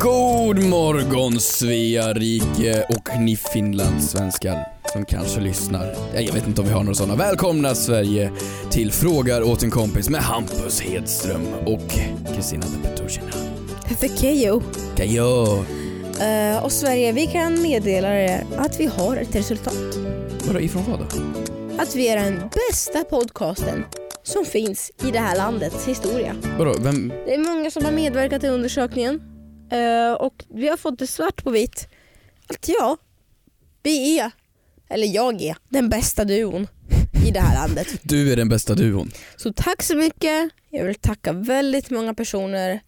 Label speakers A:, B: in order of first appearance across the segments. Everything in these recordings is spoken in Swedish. A: God morgon Svea rike och ni finlandssvenskar som kanske lyssnar. Ja, Jag vet inte om vi har några sådana. Välkomna Sverige till Frågar åt en kompis med Hampus Hedström och Kristina de Petrushina.
B: För Keyyo.
A: Kajo!
B: Eh, och Sverige, vi kan meddela er att vi har ett resultat.
A: Vadå, ifrån vad då?
B: Att vi är den bästa podcasten som finns i det här landets historia.
A: Vadå, vem?
B: Det är många som har medverkat i undersökningen eh, och vi har fått det svart på vitt att ja, vi är, eller jag är, den bästa duon i det här landet.
A: Du är den bästa duon.
B: Så tack så mycket. Jag vill tacka väldigt många personer.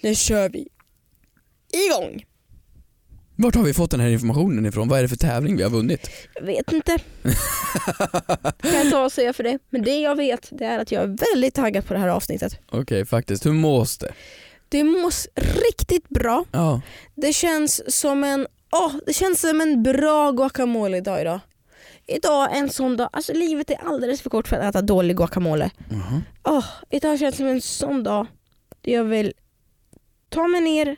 B: Nu kör vi igång.
A: Vart har vi fått den här informationen ifrån? Vad är det för tävling vi har vunnit?
B: Jag vet inte. kan jag ta och säga för dig. Men det jag vet det är att jag är väldigt taggad på det här avsnittet.
A: Okej, faktiskt. Hur mås det?
B: Det mås riktigt bra.
A: Ja.
B: Det känns som en, åh, det känns som en bra guacamole idag idag. Idag är en sån dag, alltså livet är alldeles för kort för att äta dålig guacamole. Åh, idag känns som en sån dag där jag vill ta mig ner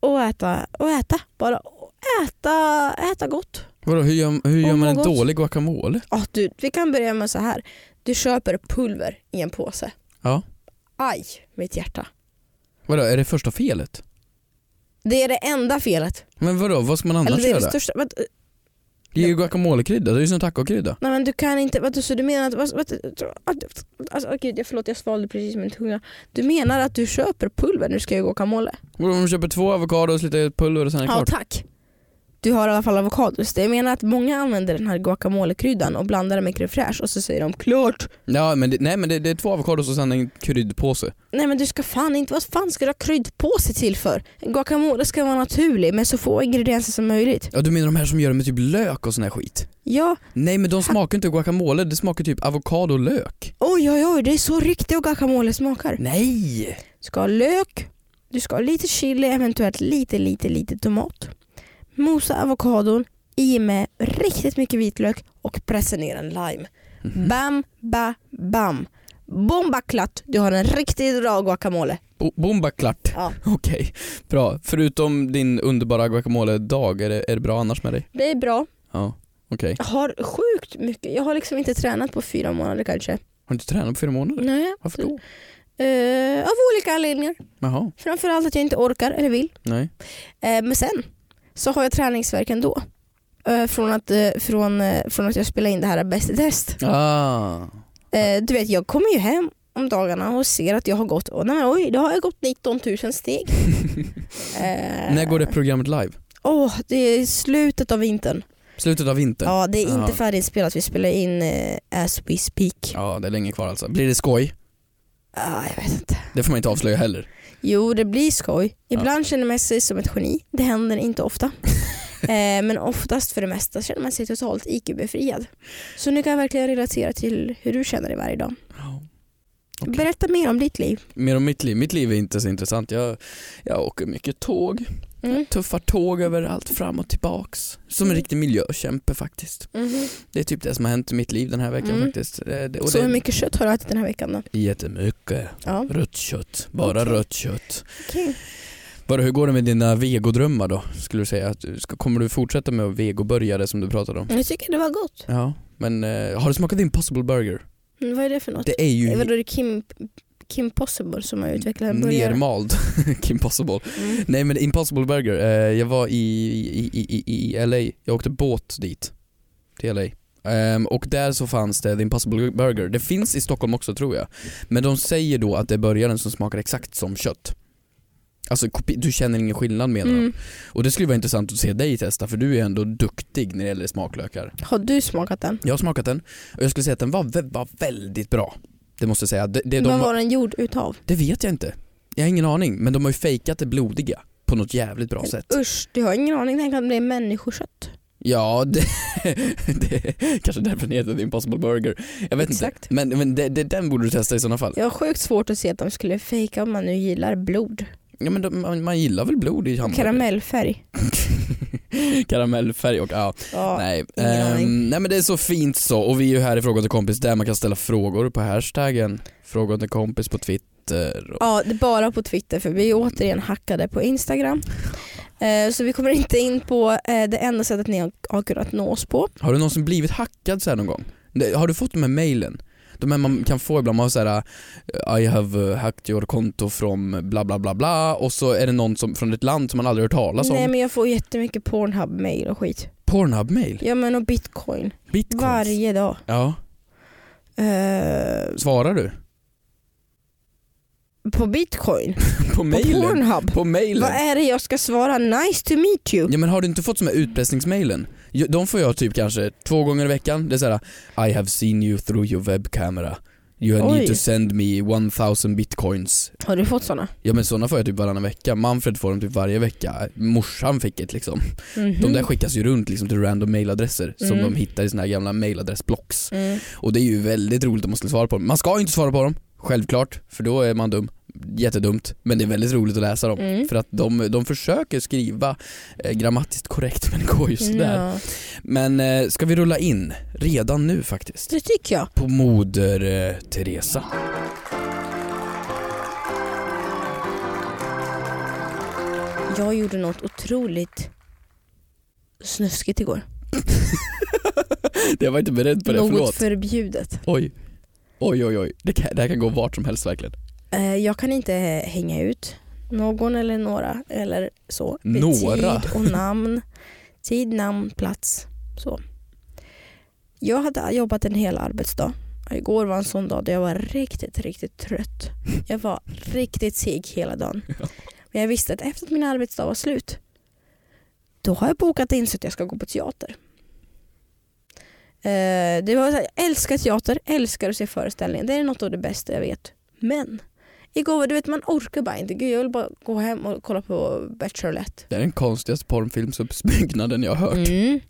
B: och äta, och äta bara. Och Äta, äta gott.
A: Vadå, hur gör, hur gör
B: Åh,
A: man en
B: vad gott.
A: dålig guacamole?
B: Ja, Ah, du, vi kan börja med så här. Du köper pulver i en påse.
A: Ja.
B: Aj, mitt hjärta.
A: Vadå, är det första felet?
B: Det är det enda felet.
A: Men vadå, vad ska man annars
B: Eller det är
A: göra?
B: det största. Vad,
A: Det är ju guacamolekrydda, det är ju som tacokrydda.
B: nej men du kan inte, vad, så du menar att... Vad, vad, alltså, oh, gud, jag, förlåt jag svalde precis min tunga. Du menar att du köper pulver när du ska göra guacamole?
A: Och de köper två avokados, lite pulver och sen är det
B: Ja
A: klart.
B: tack. Du har i alla fall avokados. Det Jag menar att många använder den här guacamolekryddan och blandar den med crème fraîche och så säger de klart.
A: Ja, men det, nej men det, det är två avokados och sen en kryddpåse.
B: Nej men du ska fan inte, vad fan ska du ha kryddpåse till för? En guacamole ska vara naturlig med så få ingredienser som möjligt.
A: Ja du menar de här som gör det med typ lök och sån här skit?
B: Ja,
A: Nej men de smakar inte guacamole, det smakar typ avokado och lök.
B: oj oj oj, det är så riktig guacamole smakar.
A: Nej!
B: Du ska ha lök, du ska ha lite chili, eventuellt lite lite lite tomat. Mosa avokadon, i med riktigt mycket vitlök och pressa ner en lime.
A: Mm.
B: Bam, ba, bam. Bomba klart, du har en riktigt bra guacamole.
A: Bo- bomba klart.
B: Ja.
A: Okej, bra. Förutom din underbara guacamole-dag, är det, är det bra annars med dig?
B: Det är bra.
A: Ja, okej.
B: Jag har sjukt mycket, jag har liksom inte tränat på fyra månader kanske.
A: Har du inte tränat på fyra månader?
B: Nej,
A: Varför då?
B: Eh, av olika anledningar.
A: Jaha,
B: Framförallt att jag inte orkar eller vill.
A: nej.
B: Eh, men sen så har jag träningsvärk ändå. Eh, från, att, eh, från, eh, från att jag spelade in det här Bäst i test.
A: Ah.
B: Eh, du vet, jag kommer ju hem om dagarna och ser att jag har gått, oh, nej, men oj, då har jag gått 19 000 steg. eh,
A: När går det programmet live?
B: åh, det är slutet av vintern.
A: Slutet av vintern?
B: Ja, det är
A: Ja.
B: inte färdiginspelat, vi spelar in eh, as we speak.
A: Ja, det är länge kvar alltså. Blir det skoj?
B: Ah, jag vet inte.
A: Det får man inte avslöja heller.
B: Jo, det blir skoj. Ibland känner man sig som ett geni. Det händer inte ofta. eh, men oftast för det mesta känner man sig totalt IQ-befriad. Så nu kan jag verkligen relatera till hur du känner dig varje dag.
A: Okej.
B: Berätta mer om ditt liv.
A: Mer om mitt liv. Mitt liv är inte så intressant. Jag, jag åker mycket tåg.
B: Mm.
A: Tuffa tåg överallt fram och tillbaks. Som en riktig miljökämpe faktiskt. Det är typ det som har hänt i mitt liv den här veckan
B: Mm.
A: faktiskt. Eh, Det, det, och
B: Så
A: det,
B: hur mycket kött har du ätit den här veckan då?
A: Jättemycket.
B: Ja.
A: Rött kött. Bara
B: Okej.
A: rött kött.
B: Okej.
A: Bara, hur går det med dina vegodrömmar då? Skulle du säga att du ska, kommer du fortsätta med att vegobörja det som du pratade om?
B: Jag tycker det var gott.
A: Ja. Men eh, har du smakat Impossible Burger?
B: Mm, vad är det för något?
A: Det är ju
B: Det var då det är Kim, Kim Possible som har utvecklat en burgare.
A: nermald Kim Possible.
B: Mm.
A: Nej men Impossible Burger, eh, jag var i, i, i, i, i LA, jag åkte båt dit. Till LA. Ehm, och där så fanns det The Impossible Burger, det finns i Stockholm också tror jag. Men de säger då att det är burgaren som smakar exakt som kött. Alltså kopi- du känner ingen skillnad menar de.
B: Mm.
A: Och det skulle vara intressant att se dig testa för du är ändå duktig när det gäller smaklökar.
B: Har du smakat den?
A: Jag har smakat den och jag skulle säga att den var, vä- var väldigt bra. Det måste jag säga. Det, det, de
B: Vad
A: har-
B: var den gjord utav?
A: det vet jag inte. Jag har ingen aning men de har ju fejkat det blodiga på något jävligt bra sätt.
B: Usch, du har ingen aning. Tänk om det är människokött.
A: Ja, det, det kanske därför den heter The Impossible Burger. Jag vet
B: Exakt.
A: inte. Men, men det, det, den borde du testa i sådana fall.
B: Jag har sjukt svårt att se att de skulle fejka om man nu gillar blod.
A: Ja, men de, man, man gillar väl blod i hamburgare?
B: Karamellfärg.
A: Karamellfärg och ja.
B: Ja.
A: nej.
B: ingen
A: Ehm,
B: aning.
A: nej men det är så fint så och vi är ju här i Fråga till kompis där man kan ställa frågor på hashtaggen Fråga till kompis på Twitter. Och,
B: Ja, det är bara på Twitter för vi är återigen hackade på Instagram. Eh, Så vi kommer inte in på eh, det enda sättet ni har- har kunnat nå oss på.
A: Har du någonsin blivit hackad så här någon gång? Det- Har du fått de här mailen? De här man kan få ibland, man har så här I have uh, hacked your konto från bla bla bla bla och så är det någon som, från ett land som man aldrig hört talas om.
B: Nej men jag får jättemycket Pornhub-mail och skit.
A: Pornhub-mail?
B: Ja men och bitcoin.
A: Bitcoins?
B: Varje dag.
A: Ja,
B: Eh,
A: svarar du?
B: på bitcoin?
A: På
B: På
A: mailen?
B: Pornhub?
A: På mailen?
B: Vad är det jag ska svara? Nice to meet you.
A: Ja men har du inte fått de här utpressningsmailen? Jo, De får jag typ kanske två gånger i veckan. Det är såhär I have seen you through your web camera. You
B: Oj.
A: need to send me 1000 bitcoins.
B: Har du fått sådana?
A: Ja men sådana får jag typ varannan vecka. Manfred får dem typ varje vecka. Morsan fick ett liksom. De
B: Mhm.
A: där skickas ju runt liksom till random mailadresser som
B: Mm.
A: de hittar i sina här gamla mailadressblocks.
B: Mm.
A: Och det är ju väldigt roligt om man skulle svara på dem. Man ska ju inte svara på dem, självklart, för då är man dum. Jättedumt, men det är väldigt roligt att läsa dem.
B: Mm.
A: För att de, de försöker skriva eh, grammatiskt korrekt men det går ju sådär.
B: Mm. Ja,
A: Men eh, ska vi rulla in redan nu faktiskt?
B: det tycker jag.
A: På moder eh, Teresa.
B: Jag gjorde något otroligt snuskigt igår.
A: Jag var inte beredd på det,
B: något
A: förlåt.
B: förbjudet.
A: Oj. Oj oj oj, det, kan, det här kan gå vart som helst verkligen.
B: Eh, Jag kan inte eh, hänga ut någon eller några eller så. Med
A: Några?
B: Tid och namn. Tid, namn, plats. Så. Jag hade jobbat en hel arbetsdag. Och Igår var en sån dag då jag var riktigt, riktigt trött. Jag var riktigt seg hela dagen. Men jag visste att efter att min arbetsdag var slut då har jag bokat in så att jag ska gå på teater. Eh, det var så här, jag älskar teater, älskar att se föreställningar. Det är något av det bästa jag vet. Men igår, var- du vet man orkar bara inte. Gud, jag vill bara gå hem och kolla på Bachelorette.
A: Det är den konstigaste porrfilmsuppbyggnaden jag har hört.
B: Mm.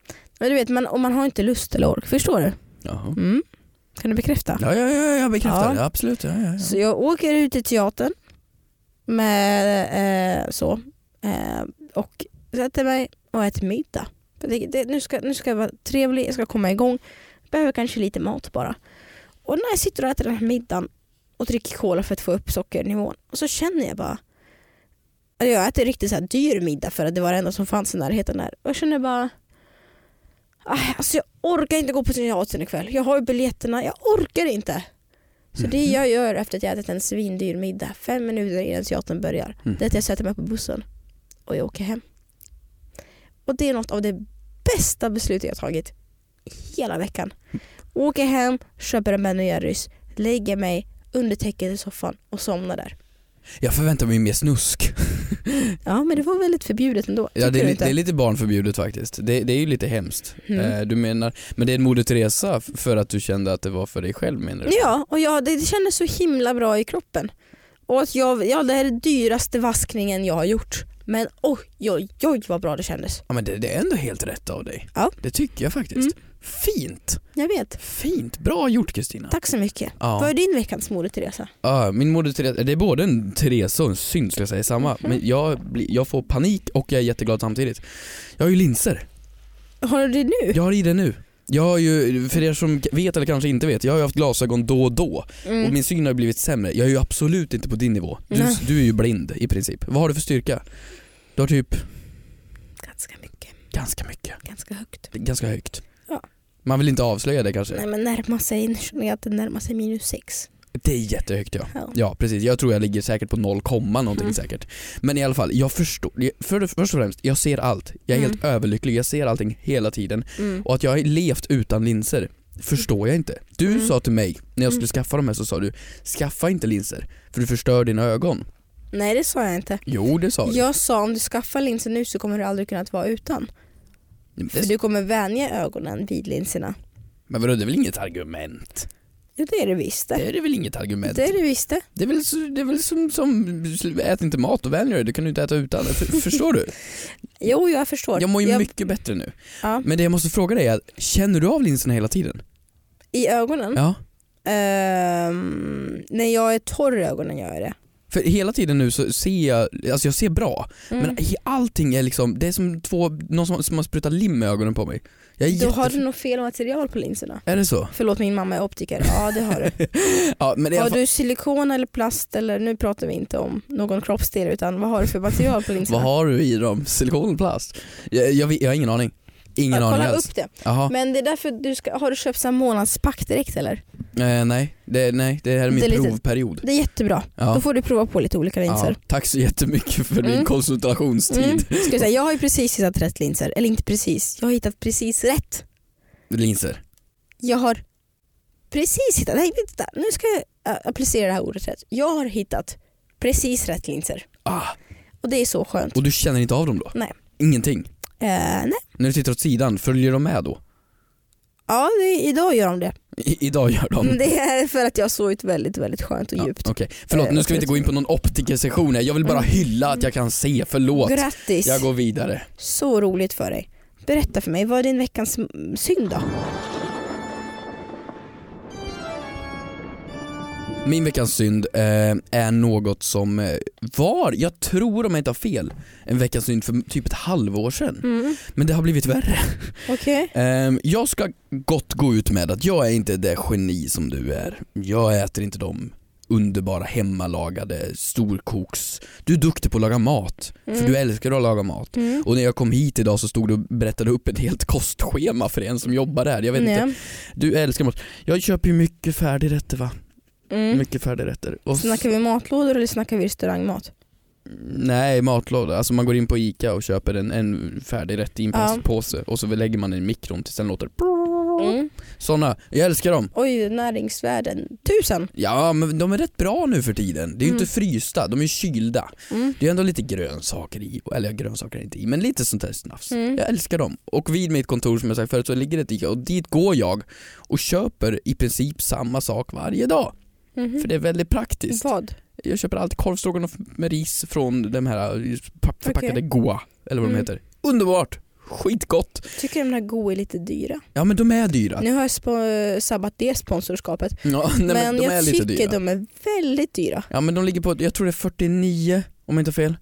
B: Men du vet, man, och man har inte lust eller ork. Förstår du?
A: Jaha.
B: Mm. Kan du bekräfta?
A: Ja, ja, ja, jag bekräftar
B: Ja.
A: det. Absolut. Ja, ja, ja.
B: Så jag åker ut till teatern med eh, så eh, och sätter mig och äter middag. Jag tänker, det, nu, ska, nu ska jag vara trevlig, jag ska komma igång. Behöver kanske lite mat bara. Och när jag sitter och äter den här middagen och dricker cola för att få upp sockernivån och så känner jag bara Eller jag äter riktigt så här dyr middag för att det var det enda som fanns i närheten där. Och jag känner bara "Aj, Alltså jag orkar inte gå på teatern ikväll. Jag har ju biljetterna, jag orkar inte. Så det jag gör efter att jag ätit en svindyr middag fem minuter innan teatern börjar,
A: Mm.
B: det är att jag sätter mig på bussen och jag åker hem. Och det är något av det bästa beslutet jag tagit hela veckan. Åker hem, köper en Ben Jerrys, lägger mig under täcket i soffan och somnar där.
A: Jag förväntar mig mer snusk.
B: Ja men det var väldigt förbjudet ändå.
A: Ja,
B: Tycker
A: det, är,
B: du
A: li-
B: inte?
A: det är lite barnförbjudet faktiskt. Det, det är ju lite hemskt.
B: Mm.
A: Eh, du menar, men det är en Moder Teresa f- för att du kände att det var för dig själv menar du?
B: Ja, och jag, det, det kändes så himla bra i kroppen. Och att jag, ja, det här är den dyraste vaskningen jag har gjort. Men oj, oj, oj vad bra det kändes.
A: Ja men det, det är ändå helt rätt av dig.
B: Ja.
A: Det tycker jag faktiskt.
B: Mm.
A: Fint!
B: Jag vet.
A: Fint! Bra gjort Kristina.
B: Tack så mycket. Vad
A: Ja.
B: är din veckans moder Teresa?
A: ja, min Moder Teresa, det är både en Teresa och en synd skulle jag säga samma.
B: Mhm.
A: Men jag, blir- jag får panik och jag är jätteglad samtidigt. Jag har ju linser.
B: Har du det nu?
A: Jag har i det nu. Jag har ju, för er som vet eller kanske inte vet, jag har ju haft glasögon då och då och min syn har ju blivit sämre. Jag är ju absolut inte på din nivå. Du,
B: Mm. Nej.
A: du är ju blind i princip. Vad har du för styrka? Du har typ
B: Ganska mycket.
A: ganska mycket.
B: Ganska högt.
A: Det är Ganska högt.
B: Ja.
A: Man vill inte avslöja det kanske.
B: Nej men närma sig, nu känner jag att det närmar sig minus sex.
A: Det är jättehögt ja.
B: Ja.
A: Ja precis, jag tror jag ligger säkert på 0, någonting
B: Mm.
A: säkert. Men i alla fall, jag förstår, för, först och främst, jag ser allt. Jag är
B: Mm.
A: helt överlycklig, jag ser allting hela tiden.
B: Mm.
A: Och att jag har levt utan linser förstår jag inte. Du
B: Mm.
A: sa till mig, när jag skulle
B: Mm.
A: skaffa de här så sa du skaffa inte linser för du förstör dina ögon.
B: Nej det sa jag inte.
A: Jo det sa du.
B: Jag sa om du skaffar linser nu så kommer du aldrig kunna vara utan.
A: Men
B: För
A: det-
B: du kommer vänja ögonen vid linserna.
A: Men vadå det är väl inget argument?
B: Ja det är det visst det.
A: Det är det väl inget argument?
B: Det är det visst det.
A: Det är väl, så- det är väl som, som, ät inte mat och vänj dig, du kan ju inte äta utan. För, förstår du?
B: Jo, jag förstår.
A: Jag mår ju mycket bättre nu.
B: Ja,
A: Men det jag måste fråga dig är, känner du av linserna hela tiden?
B: I ögonen?
A: Ja.
B: Ehm, när jag är torr i ögonen gör jag det.
A: För hela tiden nu så ser jag, alltså jag ser bra,
B: Mm.
A: men i allting är liksom, det är som två, någon som, som har sprutat lim i ögonen på mig. Jag är
B: Då
A: jätte...
B: har du nog fel material på linserna.
A: Är det så?
B: Förlåt min mamma är optiker. Ja det har du.
A: Ja, men det är i alla
B: Har
A: fall...
B: du silikon eller plast eller nu pratar vi inte om någon kroppsdel utan vad har du för material på linserna?
A: Vad har du i dem? Silikonplast? Jag, jag, vet- jag har ingen aning. Ingen
B: Ja,
A: aning
B: Kolla
A: alls.
B: upp det.
A: Jaha,
B: Men det är därför du ska, har du köpt så här månadspack direkt eller?
A: eh, nej. Det, nej, det här är min
B: Det är lite-
A: provperiod.
B: Det är jättebra.
A: Ja.
B: Då får du prova på lite olika linser.
A: Ja, tack så jättemycket för din
B: Mm.
A: konsultationstid.
B: Mm. Ska jag, säga, jag har ju precis hittat rätt linser. Eller inte precis, jag har hittat precis rätt.
A: Linser.
B: Jag har precis hittat, nej vänta, nu ska jag äh, applicera det här ordet rätt. Jag har hittat precis rätt linser.
A: Ah,
B: Och det är så skönt.
A: och du känner inte av dem då?
B: Nej.
A: Ingenting?
B: Eh, nej.
A: När du tittar åt sidan, följer de med då?
B: Ja, det, idag gör de det.
A: I, idag gör de.
B: Men Mm, det är för att jag har sovit väldigt, väldigt skönt och
A: Ja,
B: djupt.
A: Okej, förlåt
B: Eh,
A: nu ska vi inte
B: absolut.
A: gå in på någon optikersession här. Jag vill bara hylla att jag kan se, förlåt.
B: Grattis!
A: Jag går vidare.
B: Så roligt för dig. Berätta för mig, vad är din veckans mm, synd då?
A: Min veckans synd eh, är något som eh, var, jag tror om jag inte har fel, en veckans synd för typ ett halvår sedan.
B: Mm.
A: Men det har blivit värre.
B: Okej.
A: Ehm, jag ska gott gå ut med att jag är inte det geni som du är. Jag äter inte de underbara hemmalagade storkoks... Du är duktig på att laga mat,
B: Mm.
A: för du älskar att laga mat. Och när jag kom hit idag så stod du och berättade upp ett helt kostschema för en som jobbar där. Jag vet inte,
B: Nej.
A: du älskar mat. Jag köper ju mycket färdigrätter va?
B: Mm.
A: Mycket färdigrätter. Och
B: Snackar vi matlådor eller snackar vi restaurangmat?
A: Nej, matlåda. Alltså man går in på ICA och köper en, en färdigrätt i en
B: Ja.
A: plastpåse och så lägger man den i mikron tills den låter
B: Mm.
A: Såna, jag älskar dem.
B: Oj, näringsvärden. Tusen!
A: Ja men de är rätt bra nu för tiden. Det är ju inte frysta, de är ju kylda.
B: Mm.
A: Det är ändå lite grönsaker i, eller ja, grönsaker är inte i, men lite sånt här snafs.
B: Mm.
A: Jag älskar dem. Och vid mitt kontor som jag sagt förut så ligger ett ICA och dit går jag och köper i princip samma sak varje dag.
B: Mhm.
A: För det är väldigt praktiskt.
B: Vad?
A: Jag köper alltid korv stroganoff med ris från de här eh, papp- förpackade
B: Okej.
A: Goa, eller vad
B: Mm.
A: de heter. Underbart! Skitgott!
B: Tycker de här goa är lite dyra?
A: Ja men de är dyra.
B: Nu har jag spo- sabbat det sponsorskapet.
A: Ja, nej, men,
B: men
A: de är
B: jag
A: lite
B: tycker
A: dyra.
B: de är väldigt dyra.
A: Ja men de ligger på, jag tror det är 49 om jag inte har fel.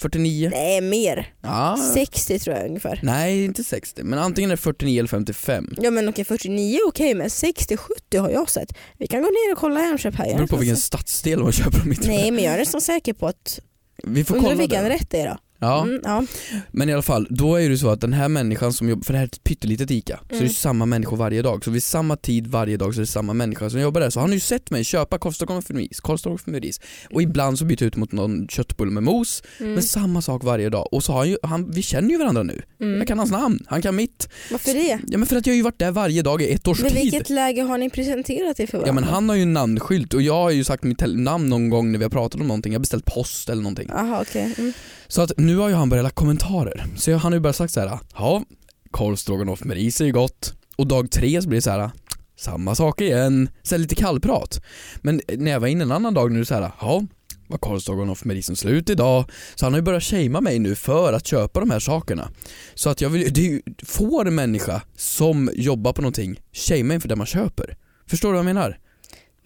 A: 49?
B: Nej, mer.
A: Ja.
B: 60 tror jag ungefär.
A: Nej inte 60, men antingen är det 49 eller 55.
B: Ja men okej 49 är okej men 60-70 har jag sett. Vi kan gå ner och kolla Hemköp här.
A: Det
B: Jag
A: beror
B: är
A: på
B: nästan
A: vilken
B: sä-
A: stadsdel man köper dem i tror jag.
B: Nej men jag är nästan säker på att,
A: Vi får
B: undrar
A: kolla
B: vilken
A: det.
B: rätt det är då.
A: Ja,
B: Mm, ja.
A: men i alla fall, då är det ju så att den här människan som jobbar, för det här är ett pyttelitet ICA, så
B: Mm.
A: det är ju samma människor varje dag. Så vid samma tid varje dag så är det samma människa som jobbar där. Så han har ju sett mig köpa korvstroganoff med ris, korvstroganoff med ris och
B: Mm.
A: ibland så byter jag ut mot någon köttbulle med mos. Men samma sak varje dag. Och så har han ju, han, vi känner ju varandra nu.
B: Mm.
A: Jag kan hans namn, han kan mitt.
B: Varför det?
A: Ja men för att jag har ju varit där varje dag i ett års
B: Men
A: tid.
B: vilket läge har ni presenterat er för
A: Ja
B: varandra?
A: men han har ju en namnskylt och jag har ju sagt mitt tel- namn någon gång när vi har pratat om någonting, jag har beställt post eller någonting.
B: Aha, okej. mm.
A: Så att nu har ju han börjat lägga kommentarer. Så jag, han har ju börjat sagt så här: ja, korv stroganoff med ris är ju gott. Och dag tre så blir det så här. samma sak igen. Så här lite kallprat. Men när jag var inne en annan dag nu så här, ja, var korv stroganoff med risen slut idag? Så han har ju börjat shamea mig nu för att köpa de här sakerna. Så att jag vill det är ju, får en människa som jobbar på någonting shamea inför det man köper. Förstår du vad jag menar?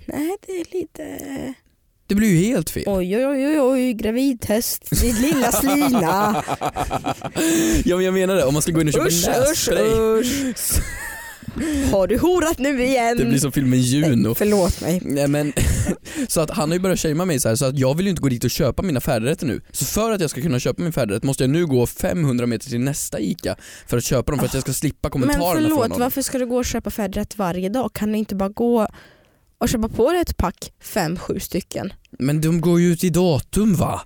B: Nej det är lite...
A: Det blir ju helt fel.
B: Oj oj oj oj, oj gravidtest, din lilla slina.
A: Ja men jag menar det, om man ska gå in och köpa
B: usch usch
A: nässpray.
B: usch. Har du horat nu igen?
A: Det blir som filmen Juno.
B: Förlåt mig.
A: Nej men, så att han har ju börjat shamea mig så här så att jag vill ju inte gå dit och köpa mina färdigrätter nu. Så för att jag ska kunna köpa min färdigrätt måste jag nu gå 500 meter till nästa ICA för att köpa dem för att jag ska slippa
B: Ah. Men
A: kommentarerna från
B: förlåt
A: honom.
B: varför ska du gå och köpa färdigrätt varje dag? Kan du inte bara gå och köpa på dig ett pack, fem, sju stycken?
A: Men de går ju ut i datum va?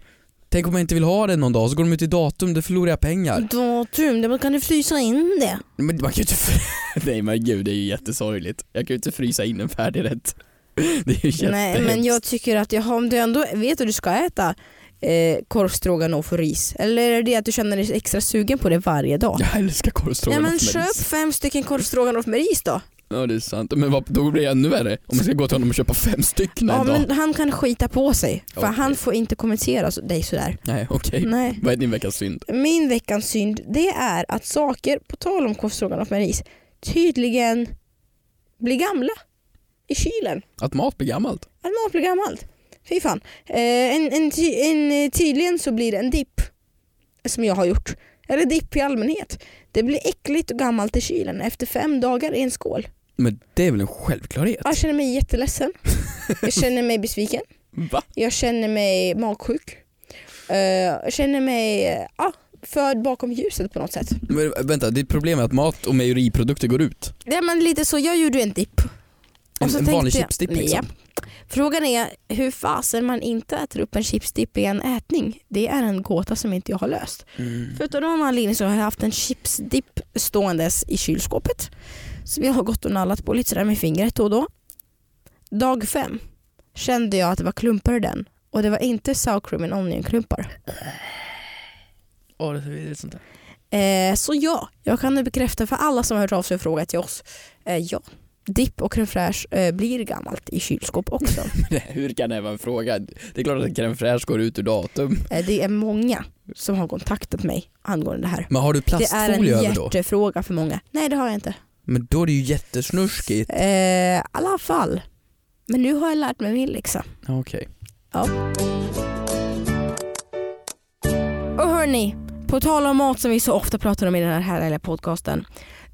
A: Tänk om jag inte vill ha det någon dag så går de ut i datum, då förlorar jag
B: Mm.
A: pengar.
B: Datum, då kan du frysa in det?
A: Men man kan ju inte... fr- Nej men gud det är ju jättesorgligt. Jag kan ju inte frysa in en färdigrätt. Det är ju jättehemskt.
B: Nej men jag tycker att jag, om du ändå vet att du ska äta eh, korv stroganoff och ris, eller är det det att du känner dig extra sugen på det varje dag?
A: jag älskar korv
B: Nej
A: stroganoff
B: men
A: med
B: köp
A: ris.
B: fem stycken korv stroganoff med ris då.
A: Ja det är sant, men vad, då blir det ännu värre om man ska gå till honom och köpa fem stycken
B: Ja,
A: en dag.
B: men han kan skita på sig, för
A: Okej.
B: han får inte kommentera så- dig sådär.
A: Nej okej,
B: Nej.
A: vad är din veckas synd?
B: Min veckans synd det är att saker, på tal om korvstroganoff med ris, tydligen blir gamla i kylen.
A: Att mat blir gammalt?
B: Att mat blir gammalt. Fy fan. Eh, en, en, ty, en, eh, tydligen så blir det en dipp, som jag har gjort. Eller dipp i allmänhet. Det blir äckligt och gammalt i kylen efter fem dagar i en skål.
A: Men det är väl en självklarhet?
B: Jag känner mig jätteledsen. Jag känner mig besviken.
A: Va?
B: Jag känner mig magsjuk. Eh, jag känner mig eh, ja, förd bakom ljuset på något sätt.
A: Men, vänta, ditt problem är att mat och mejeriprodukter går ut?
B: Ja, men lite så, jag gjorde ju en dipp.
A: En, en vanlig
B: jag-
A: chipsdipp liksom?
B: Ja. Frågan är hur fasen man inte äter upp en chipsdipp i en ätning. Det är en gåta som inte jag har löst.
A: Mm.
B: För utav någon anledning så har jag haft en chipsdipp ståendes i kylskåpet. Som jag har gått och nallat på lite sådär med fingret då och då. Dag fem kände jag att det var klumpar i den. Och det var inte sour cream and onion klumpar.
A: Ja, det är vidrigt sånt där.
B: Eh, så ja, jag kan nu bekräfta för alla som har hört av sig och frågat till oss. Eh, ja, dipp och crème fraîche eh, blir gammalt i kylskåp också.
A: Hur kan det vara en fråga? Det är klart att crème fraîche går ut ur datum.
B: Eh, Det är många som har kontaktat mig angående det här.
A: Men har du
B: Det är en
A: plastfolie över då?
B: hjärtefråga för många. Nej det har jag inte.
A: Men då är det ju jättesnuskigt.
B: Eh, I alla fall. Men nu har jag lärt mig min läxa.
A: Okej.
B: Och hörni, på tal om mat som vi så ofta pratar om i den här härliga podcasten.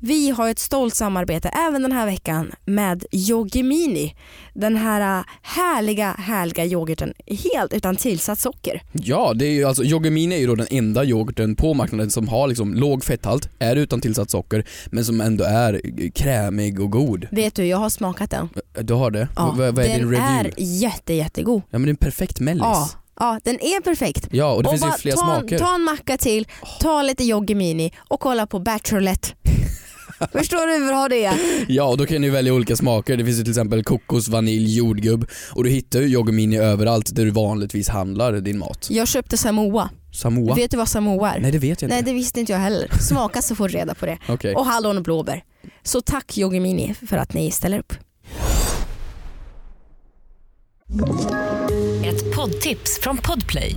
B: Vi har ett stolt samarbete även den här veckan med Yogimini. Den här äh, härliga, härliga yoghurten helt utan tillsatt socker.
A: Ja, det är ju alltså, Yogimini är ju då den enda yoghurten på marknaden som har liksom låg fetthalt, är utan tillsatt socker, men som ändå är eh, krämig och god.
B: Vet du, jag har smakat den.
A: Eh, Du har det? V- vad vad är
B: den
A: din review?
B: är jätte, jättegod.
A: Ja men det är en perfekt mellis.
B: Ja,
A: Ja,
B: ja, den är perfekt.
A: och det finns ju
B: bara
A: flera
B: ta, en-
A: smaker.
B: ta en macka till, ta lite Yogimini och kolla på Bachelorette. Förstår du hur bra det är?
A: Ja, och då kan du välja olika smaker. Det finns ju till exempel kokos, vanilj, jordgubb och du hittar ju Yogimini överallt där du vanligtvis handlar din mat.
B: Jag köpte Samoa.
A: Samoa?
B: Vet du vad Samoa är?
A: Nej det vet jag
B: Nej
A: inte.
B: det visste inte jag heller. Smaka så får du reda på det.
A: Okej.
B: Och hallon och blåbär. Så tack Yogimini för att ni ställer upp.
C: Ett poddtips från Podplay.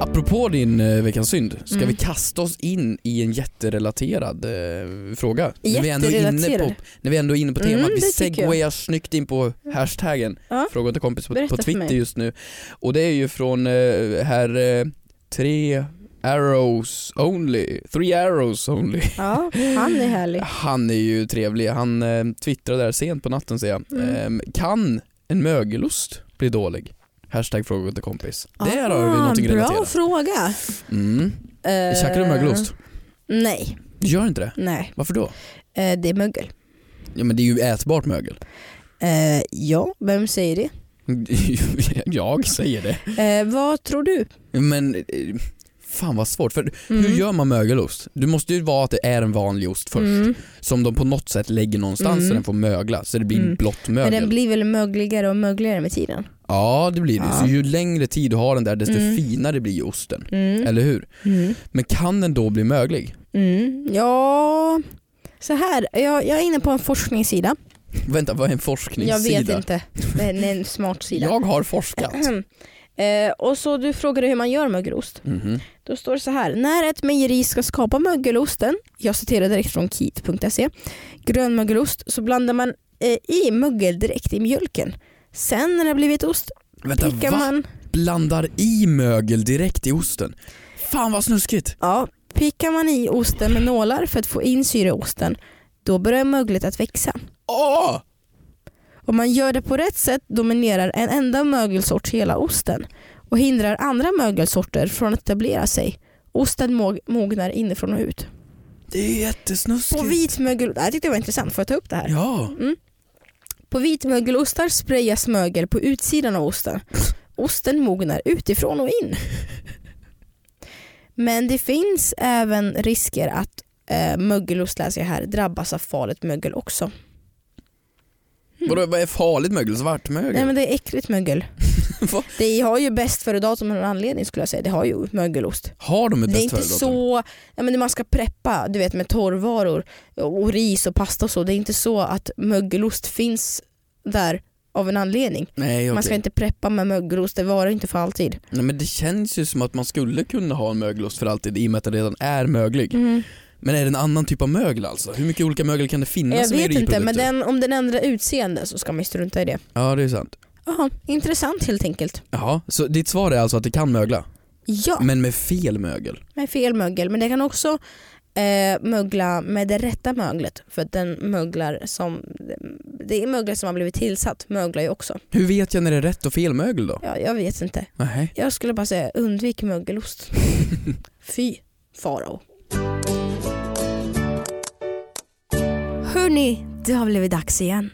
A: Apropå din eh, veckans synd, ska
B: Mm.
A: vi kasta oss in i en jätterelaterad eh, fråga? När vi, ändå är inne på,
B: Jätterelaterad.
A: när vi ändå är inne på temat,
B: Mm,
A: vi
B: det tycker jag.
A: segwayar snyggt in på hashtaggen
B: Ja.
A: Fråga till kompis på,
B: Berätta
A: på
B: för
A: Twitter
B: mig.
A: just nu. Och det är ju från eh, herr eh, tre arrows only, three arrows only.
B: Ja, han är härlig.
A: Han är ju trevlig, han eh, twittrade där sent på natten säger jag.
B: Mm.
A: Eh, kan en mögelost bli dålig? Hashtag fråga till kompis. Där har vi någonting
B: Ah, Bra
A: relaterat.
B: fråga.
A: Mm.
B: Eh,
A: Käkar du mögelost?
B: Nej,
A: Du gör inte det?
B: nej.
A: Varför då?
B: Eh, det är mögel.
A: Ja men det är ju ätbart mögel.
B: Eh, ja, vem säger det?
A: Jag säger det.
B: Eh, vad tror du?
A: Men eh, fan vad svårt. För
B: Mm.
A: hur gör man mögelost? Du måste ju vara att det är en vanlig ost först.
B: Mm.
A: Som de på något sätt lägger någonstans så den får mögla. Så det blir blått mögel.
B: Mm. Men den blir väl mögligare och mögligare med tiden?
A: Ja det blir det. Så ju längre tid du har den där desto
B: Mm.
A: finare blir ju osten. Eller hur? Men kan den då bli möglig?
B: Mm. Ja, så här. Jag, jag är inne på en forskningssida.
A: Vänta vad är en
B: Jag
A: forskningssida?
B: vet inte. Men det är en smart sida.
A: Jag har forskat.
B: Eh, och så du frågade hur man gör mögelost.
A: Mhm.
B: Då står det så här. När ett mejeri ska skapa mögelosten, jag citerar direkt från kit.se, grönmögelost så blandar man eh, i mögel direkt i mjölken. Sen när det har blivit ost
A: Vänta
B: prickar
A: va?
B: man
A: Blandar i mögel direkt i osten? Fan vad snuskigt.
B: Ja, pickar man i osten med nålar för att få in syre i osten, då börjar möglet att växa.
A: Åh!
B: Om man gör det på rätt sätt dominerar en enda mögelsort hela osten och hindrar andra mögelsorter från att etablera sig. Osten mog- mognar inifrån och ut.
A: Det är ju jättesnuskigt.
B: På vit mögel... Det här tyckte jag var intressant, får jag ta upp det här?
A: Ja.
B: På vitmögelostar sprayas mögel på utsidan av osten. Osten mognar utifrån och in. Men det finns även risker att eh, mögelost, läser jag här, drabbas av farligt mögel också.
A: Vadå, vad är farligt mögel? Svartmögel?
B: Mm. Nej men det är äckligt mögel.
A: Va?
B: det har ju bäst före datum av en anledning skulle jag säga. Det har ju mögelost.
A: Har de ett
B: Det
A: bäst
B: är inte
A: före-datum?
B: så, ja, men man ska preppa du vet, med torrvaror och ris och pasta och så. Det är inte så att mögelost finns där av en anledning.
A: Nej, okej.
B: Man ska inte preppa med mögelost, det varar inte för alltid.
A: Nej men det känns ju som att man skulle kunna ha en mögelost för alltid i och med att den redan är möglig.
B: Mm.
A: Men är det en annan typ av mögel alltså? Hur mycket olika mögel kan det finnas
B: jag
A: som
B: vet inte, men alltså,
A: mejeriprodukter?
B: den, om den ändrar utseende så ska man ju strunta i det.
A: Ja det är sant.
B: Jaha, intressant helt enkelt.
A: Jaha, så ditt svar är alltså att det kan mögla?
B: Ja,
A: Men med fel mögel?
B: med fel mögel. Men det kan också eh, mögla med det rätta möglet. För att den möglar som, det är möglet som har blivit tillsatt möglar ju också.
A: Hur vet jag när det är rätt och fel mögel då?
B: Ja, jag vet inte.
A: Nej.
B: Jag skulle bara säga undvik mögelost. Fy farao. Hörni, det har blivit dags igen.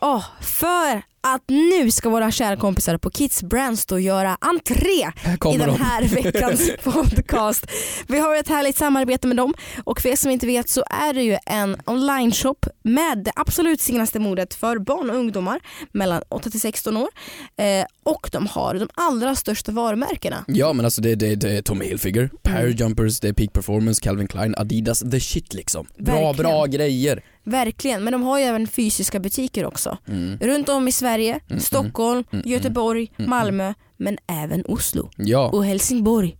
B: Åh, för att nu ska våra kära kompisar på Kids Brands då göra entré
A: Här
B: i
A: kommer
B: den
A: de.
B: här veckans podcast. Vi har ett härligt samarbete med dem och för er som inte vet så är det ju en online-shop med det absolut senaste modet för barn och ungdomar mellan 8 till 16 år eh, och de har de allra största varumärkena.
A: Ja men alltså det, det, det är Tommy Hilfiger,
B: Mm.
A: Pair Jumpers, det är Peak Performance, Calvin Klein, Adidas, the shit liksom. Bra,
B: Verkligen.
A: bra grejer.
B: Verkligen, men de har ju även fysiska butiker också.
A: Mm.
B: Runt om i Sverige, Stockholm, Göteborg, Malmö men även Oslo
A: Ja,
B: och Helsingborg.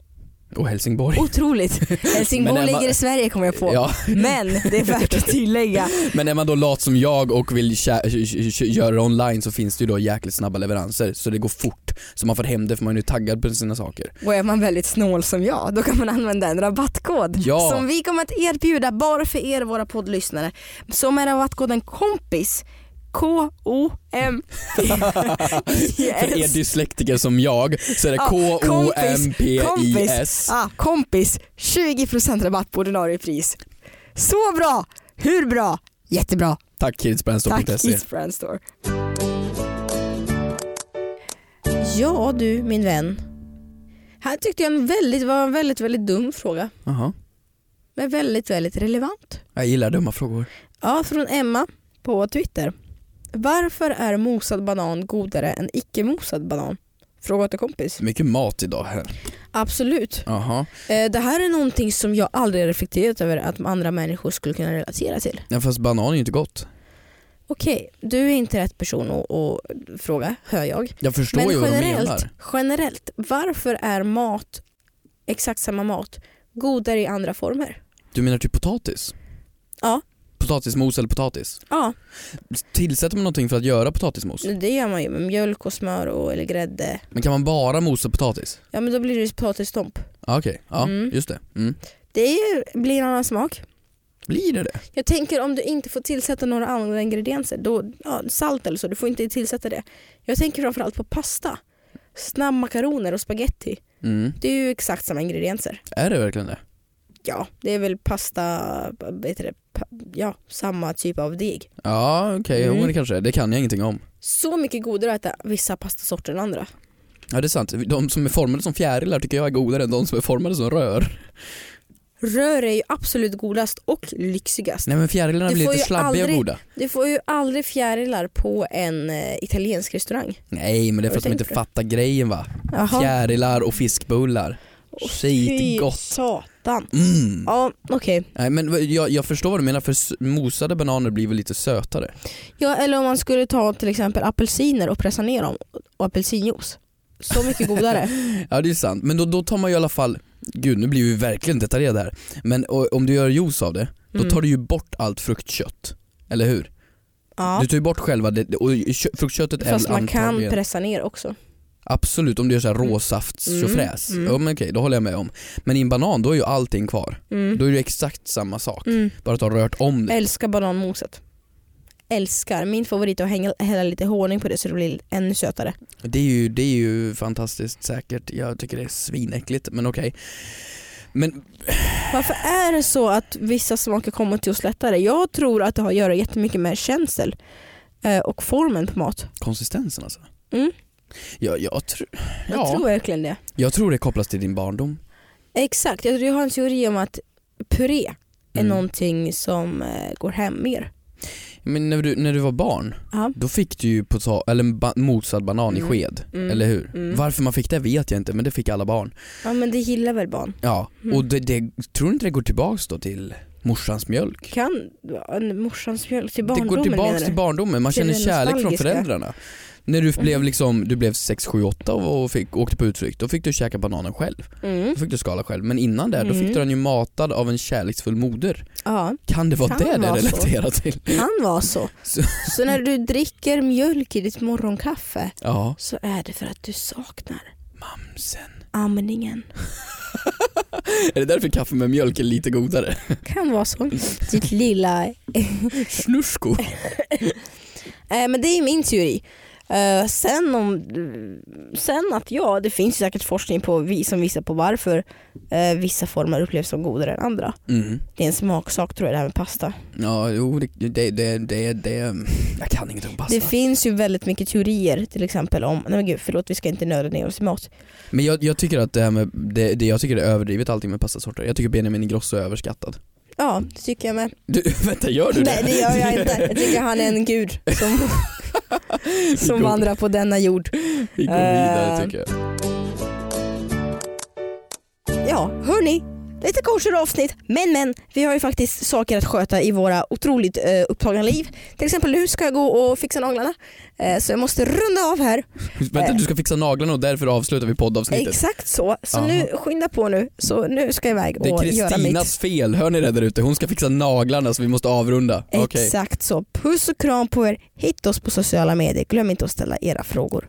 A: och Helsingborg.
B: Otroligt!
A: Men
B: Helsingborg
A: är man-
B: ligger i Sverige kommer jag på.
A: Ja.
B: Men det är värt att tillägga.
A: Men är man då lat som jag och vill kä- k- k- k- göra det online så finns det ju då jäkligt snabba leveranser så det går fort. Så man får hem det för man är ju taggad på sina saker.
B: Och är man väldigt snål som jag, då kan man använda en rabattkod
A: Ja.
B: som vi kommer att erbjuda bara för er våra poddlyssnare. Som är rabattkoden KOMPIS K-O-M
A: För er dyslektiker som jag så är det K-O-M-P-I-S.
B: Ah, kompis, 20% rabatt på ordinarie pris. Så bra! Hur bra? Jättebra.
A: Tack
B: Tack
A: kidsbrandstore.se.
B: Kids Brand Store. Ja du min vän. Här tyckte jag en väldigt, var en väldigt, väldigt dum fråga.
A: Jaha,
B: Men väldigt, väldigt relevant.
A: jag gillar dumma frågor.
B: Ja, från Emma på Twitter. Varför är mosad banan godare än icke mosad banan? Fråga till kompis.
A: Mycket mat idag här.
B: Absolut.
A: Jaha.
B: Eh, Det här är någonting som jag aldrig har reflekterat över att andra människor skulle kunna relatera till.
A: Ja, fast banan är ju inte gott.
B: Okej, du är inte rätt person att, att fråga, hör jag.
A: Jag förstår
B: Men
A: ju vad du
B: generellt,
A: menar.
B: generellt, varför är mat, exakt samma mat, godare i andra former?
A: Du menar typ potatis?
B: Ja.
A: Potatismos eller potatis?
B: Ja,
A: Tillsätter man någonting för att göra potatismos?
B: det gör man ju med mjölk och smör och, eller grädde.
A: Men kan man bara mosa potatis?
B: Ja men då blir det ju potatisstomp.
A: Ja, Okej, ja
B: Mm.
A: just det. Mm.
B: Det är ju, blir en annan smak.
A: Blir det det?
B: Jag tänker om du inte får tillsätta några andra ingredienser, då, ja, salt eller så, du får inte tillsätta det. Jag tänker framförallt på pasta, snabbmakaroner och spaghetti.
A: Mm.
B: Det är ju exakt samma ingredienser.
A: Är det verkligen det?
B: Ja, det är väl pasta, vad heter det, pa- ja, samma typ av deg.
A: Ja okej, jo
B: Mm.
A: men det kanske är. Det kan jag ingenting om.
B: Så mycket godare att äta vissa pastasorter än andra.
A: Ja det är sant, de som är formade som fjärilar tycker jag är godare än de som är formade som rör.
B: Rör är ju absolut godast och lyxigast.
A: Nej men fjärilarna
B: Du
A: blir
B: får
A: lite
B: ju
A: slabbiga
B: aldrig-
A: och goda.
B: Du får ju aldrig fjärilar på en eh, italiensk restaurang.
A: Nej men det är för
B: Har
A: att
B: du
A: de inte
B: tänkt på det?
A: fattar grejen va.
B: Jaha.
A: Fjärilar och fiskbullar.
B: Åh,
A: Skitgott.
B: fy Satan.
A: Mm.
B: Ja, okej.
A: Nej men vad- jag, jag förstår vad du menar för s- mosade bananer blir väl lite sötare?
B: Ja, eller om man skulle ta till exempel apelsiner och pressa ner dem och apelsinjuice. Så mycket godare.
A: Ja det är sant, men då, då tar man ju i alla fall, gud nu blir vi verkligen detaljerade här, men o- om du gör juice av det, då
B: Mm.
A: tar du ju bort allt fruktkött. Eller hur?
B: Ja,
A: Du tar ju bort själva det, och kö- fruktköttet är
B: fast
A: väl
B: man kan
A: antagligen-
B: pressa ner också.
A: Absolut, om du gör så här råsaftstjofräs.
B: Mm, mm.
A: Ja men okej, då håller jag med om. Men i en banan då är ju allting kvar.
B: Mm.
A: Då är det ju exakt samma sak.
B: Mm. Eh.
A: Bara att du har rört om det.
B: Älskar bananmoset. Älskar. Min favorit är att hänga, hälla lite honung på det så det blir ännu sötare.
A: Det är ju, det är ju fantastiskt säkert. Jag tycker det är svinäckligt men okej. Men
B: Varför är det så att vissa smaker kommer till oss lättare? Jag tror att det har att göra jättemycket med känsel eh, och formen på mat.
A: konsistensen alltså?
B: Mm.
A: Ja, jag, tr-
B: Jag
A: ja.
B: tror verkligen det.
A: jag tror det kopplas till din barndom.
B: Exakt, jag tror jag har en teori om att puré är
A: Mm.
B: någonting som eh, går hem mer.
A: Men när du, när du var barn,
B: Ja.
A: då fick du ju pota- eller en ba- mosad banan
B: Mm.
A: i sked,
B: Mm.
A: eller hur?
B: Mm.
A: Varför man fick det vet jag inte, men det fick alla barn.
B: Ja men det gillar väl barn?
A: Ja,
B: Mm.
A: och det, det, tror du inte det går tillbaks då till morsans mjölk?
B: Kan ja, en morsans mjölk till
A: Det
B: barndomen
A: går
B: menar
A: tillbaks
B: du?
A: till barndomen, man
B: Till
A: känner
B: det
A: kärlek från
B: nostalgiska.
A: föräldrarna. När du blev
B: Mm.
A: liksom, du blev 6, 7, 8 och och fick, åkte på utflykt, då fick du käka bananen själv.
B: Mm.
A: Då fick du skala själv. Men innan det, då
B: Mm.
A: fick du den ju matad av en kärleksfull moder.
B: Ja,
A: Kan det vara
B: Kan
A: det det
B: vara så.
A: relaterar till?
B: kan vara så.
A: Så-
B: Så när du dricker mjölk i ditt morgonkaffe
A: Ja,
B: så är det för att du saknar
A: mamsen.
B: amningen.
A: Är det därför kaffe med mjölk är lite godare?
B: Kan vara så. Ditt lilla
A: Snusko.
B: Eh, men det är min teori. Eh, sen, om, sen att ja, det finns säkert forskning på, vi- som visar på varför eh, vissa former upplevs som godare än andra.
A: Mm.
B: Det är en smaksak tror jag det här med pasta.
A: Ja, jo det, det, det, det, det, jag kan inget om pasta.
B: Det finns ju väldigt mycket teorier till exempel om, nej men gud förlåt vi ska inte nöda ner oss i mat.
A: Men jag, jag tycker att det här med, det, det, jag tycker det är överdrivet allting med pastasorter. Jag tycker Benjamin Ingrosso är överskattad.
B: Ja, det tycker jag med.
A: Du, vänta gör du det?
B: Nej det gör jag inte. Jag tycker han är en gud som, som
A: går-
B: vandrar på denna jord.
A: Vi går vidare
B: Eh,
A: tycker jag.
B: Ja, hörni. Lite kortare avsnitt, men men vi har ju faktiskt saker att sköta i våra otroligt eh, upptagna liv. Till exempel nu ska jag gå och fixa naglarna, eh, så jag måste runda av här.
A: Vänta
B: eh.
A: du ska fixa naglarna och därför avslutar vi poddavsnittet.
B: Exakt så. Så
A: Aha.
B: nu skynda på nu, så nu ska jag iväg
A: Det är
B: och göra mitt.
A: Kristinas fel, hör ni det där ute? Hon ska fixa naglarna så vi måste avrunda. Okej.
B: Exakt så. Puss och kram på er. Hitta oss på sociala medier. Glöm inte att ställa era frågor.